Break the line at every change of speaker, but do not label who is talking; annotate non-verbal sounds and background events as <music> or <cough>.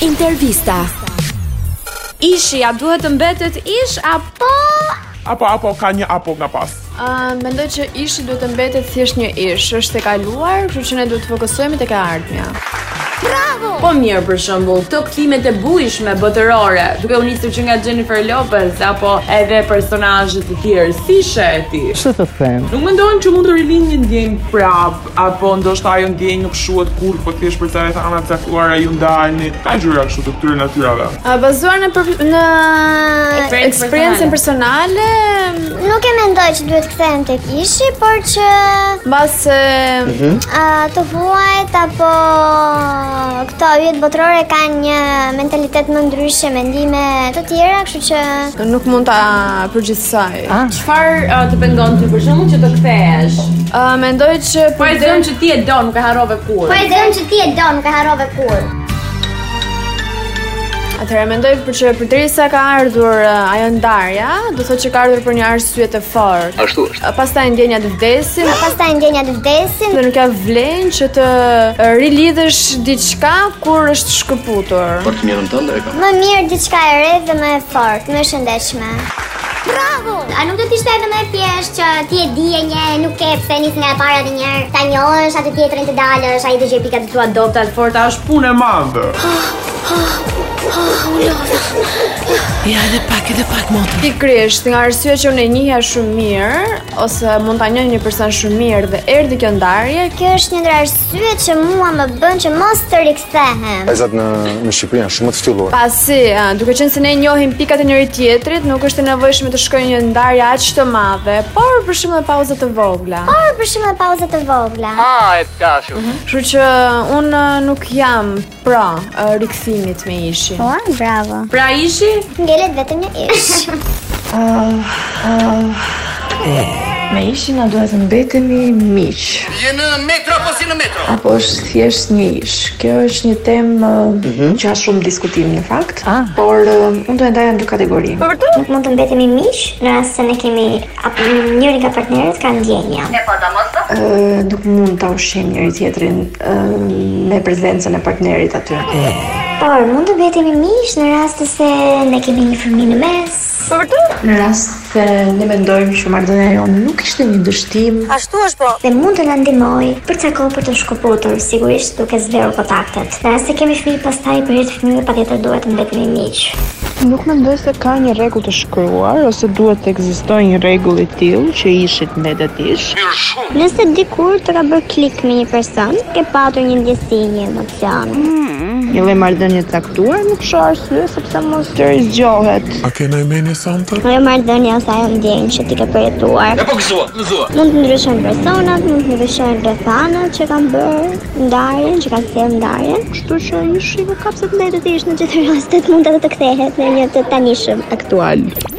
Intervista.
Ishi, a duhet të mbetet ish apo
Apo apo ka një apo nga pas.
Uh, mendoj që ishi duhet të mbetet thjesht një ish, është e kaluar, kështu që ne duhet të fokusohemi tek e ardhmja.
Po mirë për shembull, këto kthimet e bujshme botërore, duke u nisur që nga Jennifer Lopez apo edhe personazhe të tjerë, si she e ti?
Ç'të të them?
Nuk mendojnë që mund të rilin një ndjenjë prap, apo ndoshta ajo ndjenjë nuk shuhet kur, po thjesht për të rrethana të caktuara ju ndajnë. Ka gjëra kështu të këtyre natyrave.
Uh, bazuar në për, në
Eksperiencë
eksperiencën personale,
Nuk e mendoj që duhet kthehem tek ishi, por që
mbas uh,
uh, të vuajt apo këto yjet botërore kanë një mentalitet më ndryshe, mendime të tjera, kështu që
nuk mund ta përgjithsoj.
Çfarë uh, të pengon ty për shembull që të kthehesh?
Uh, mendoj që
Po e zënë që ti e don, nuk e harrove kur.
e them që ti e do, nuk e harrove kur.
Po, Atëherë mendoj për që përderisa ka ardhur uh, ajo ndarja, do thotë që ka ardhur për një arsye të fortë. Ashtu është. Uh, pastaj ndjenja të vdesin,
Pastaj ndjenja të vdesin,
dhe nuk ka vlen që të uh, rilidhesh diçka kur është shkëputur.
Por të mirën tënde e kam.
më mirë diçka e re dhe më e fortë, më e shëndetshme. Bravo! A nuk do të ishte edhe më e thjeshtë që ti e dije një, nuk e pse nis nga e para të njëherë, ta njohësh atë tjetrën të dalësh, ai dëgjoj pikat e tua dobta.
Forta është punë e madhe.
Pikrisht, nga arsye që unë e njihja shumë mirë ose mund ta njoh një person shumë mirë dhe erdhi kjo ndarje,
Kjo është një ndër arsyet që mua më bën që mos të rikthehem.
Vajzat në në Shqipëri janë shumë të ftyllur.
pasi ë, duke qenë se ne njohim pikat e njëri tjetrit, nuk është e nevojshme të shkojë një ndarje aq të madhe, por për shembull pauza të vogla.
Por për shembull pauza të vogla.
Kështu që unë ë, nuk jam pra ë, rikthimit me ishin.
Po, bravo.
Pra ishi?
Ngelet vetëm një ish.
Me ishin na duhet të mbetemi miq,
Je në metro apo si në metro?
apo është thjesht një ish. Kjo është një temë ë, që ka shumë diskutim në fakt,
Ah.
por ë, unë do e ndaja në dy kategori.
<laughs> Nuk mund të mbetemi miq në rast se ne kemi apo njëri nga partnerët ka ndjenja.
Ë, nuk mund ta ushqejmë njëri tjetrin ë, me prezencën e partnerit aty.
Por mund të mbetemi miq në rast se ne kemi një fëmijë në mes.
Në rast se ne mendojmë që marrëdhënia jonë nuk ishte një dështim,
Dhe mund të na ndihmoj për ca kohë për të shkëputur, sigurisht duke zgjerë kontaktet. Në rast se kemi fëmijë pastaj për hir të fëmijëve patjetër duhet të mbetemi miq.
Nuk mendoj se ka një rregull të shkruar ose duhet të ekzistojë një rregull i tillë që ishit mbetet ish.
Nëse dikur të ka bërë klik me një person, ke patur një ndjesi, një emocion.
Një lloj marrëdhënie të caktuar nuk shoh arsye sepse mos të zgjohet.
A ke në mendje sonte?
Ajo marrëdhënia ose ajo ndjenjë që ti ke përjetuar.
E po gëzua, gëzua.
Mund të ndryshojnë personat, mund të ndryshojnë rrethanat që kanë bërë ndarjen, që kanë sjellë ndarjen. Kështu që ishi nuk ka pse të mbetet ish në çdo rast, mund edhe të kthehet në një të tanishëm.
Aktual.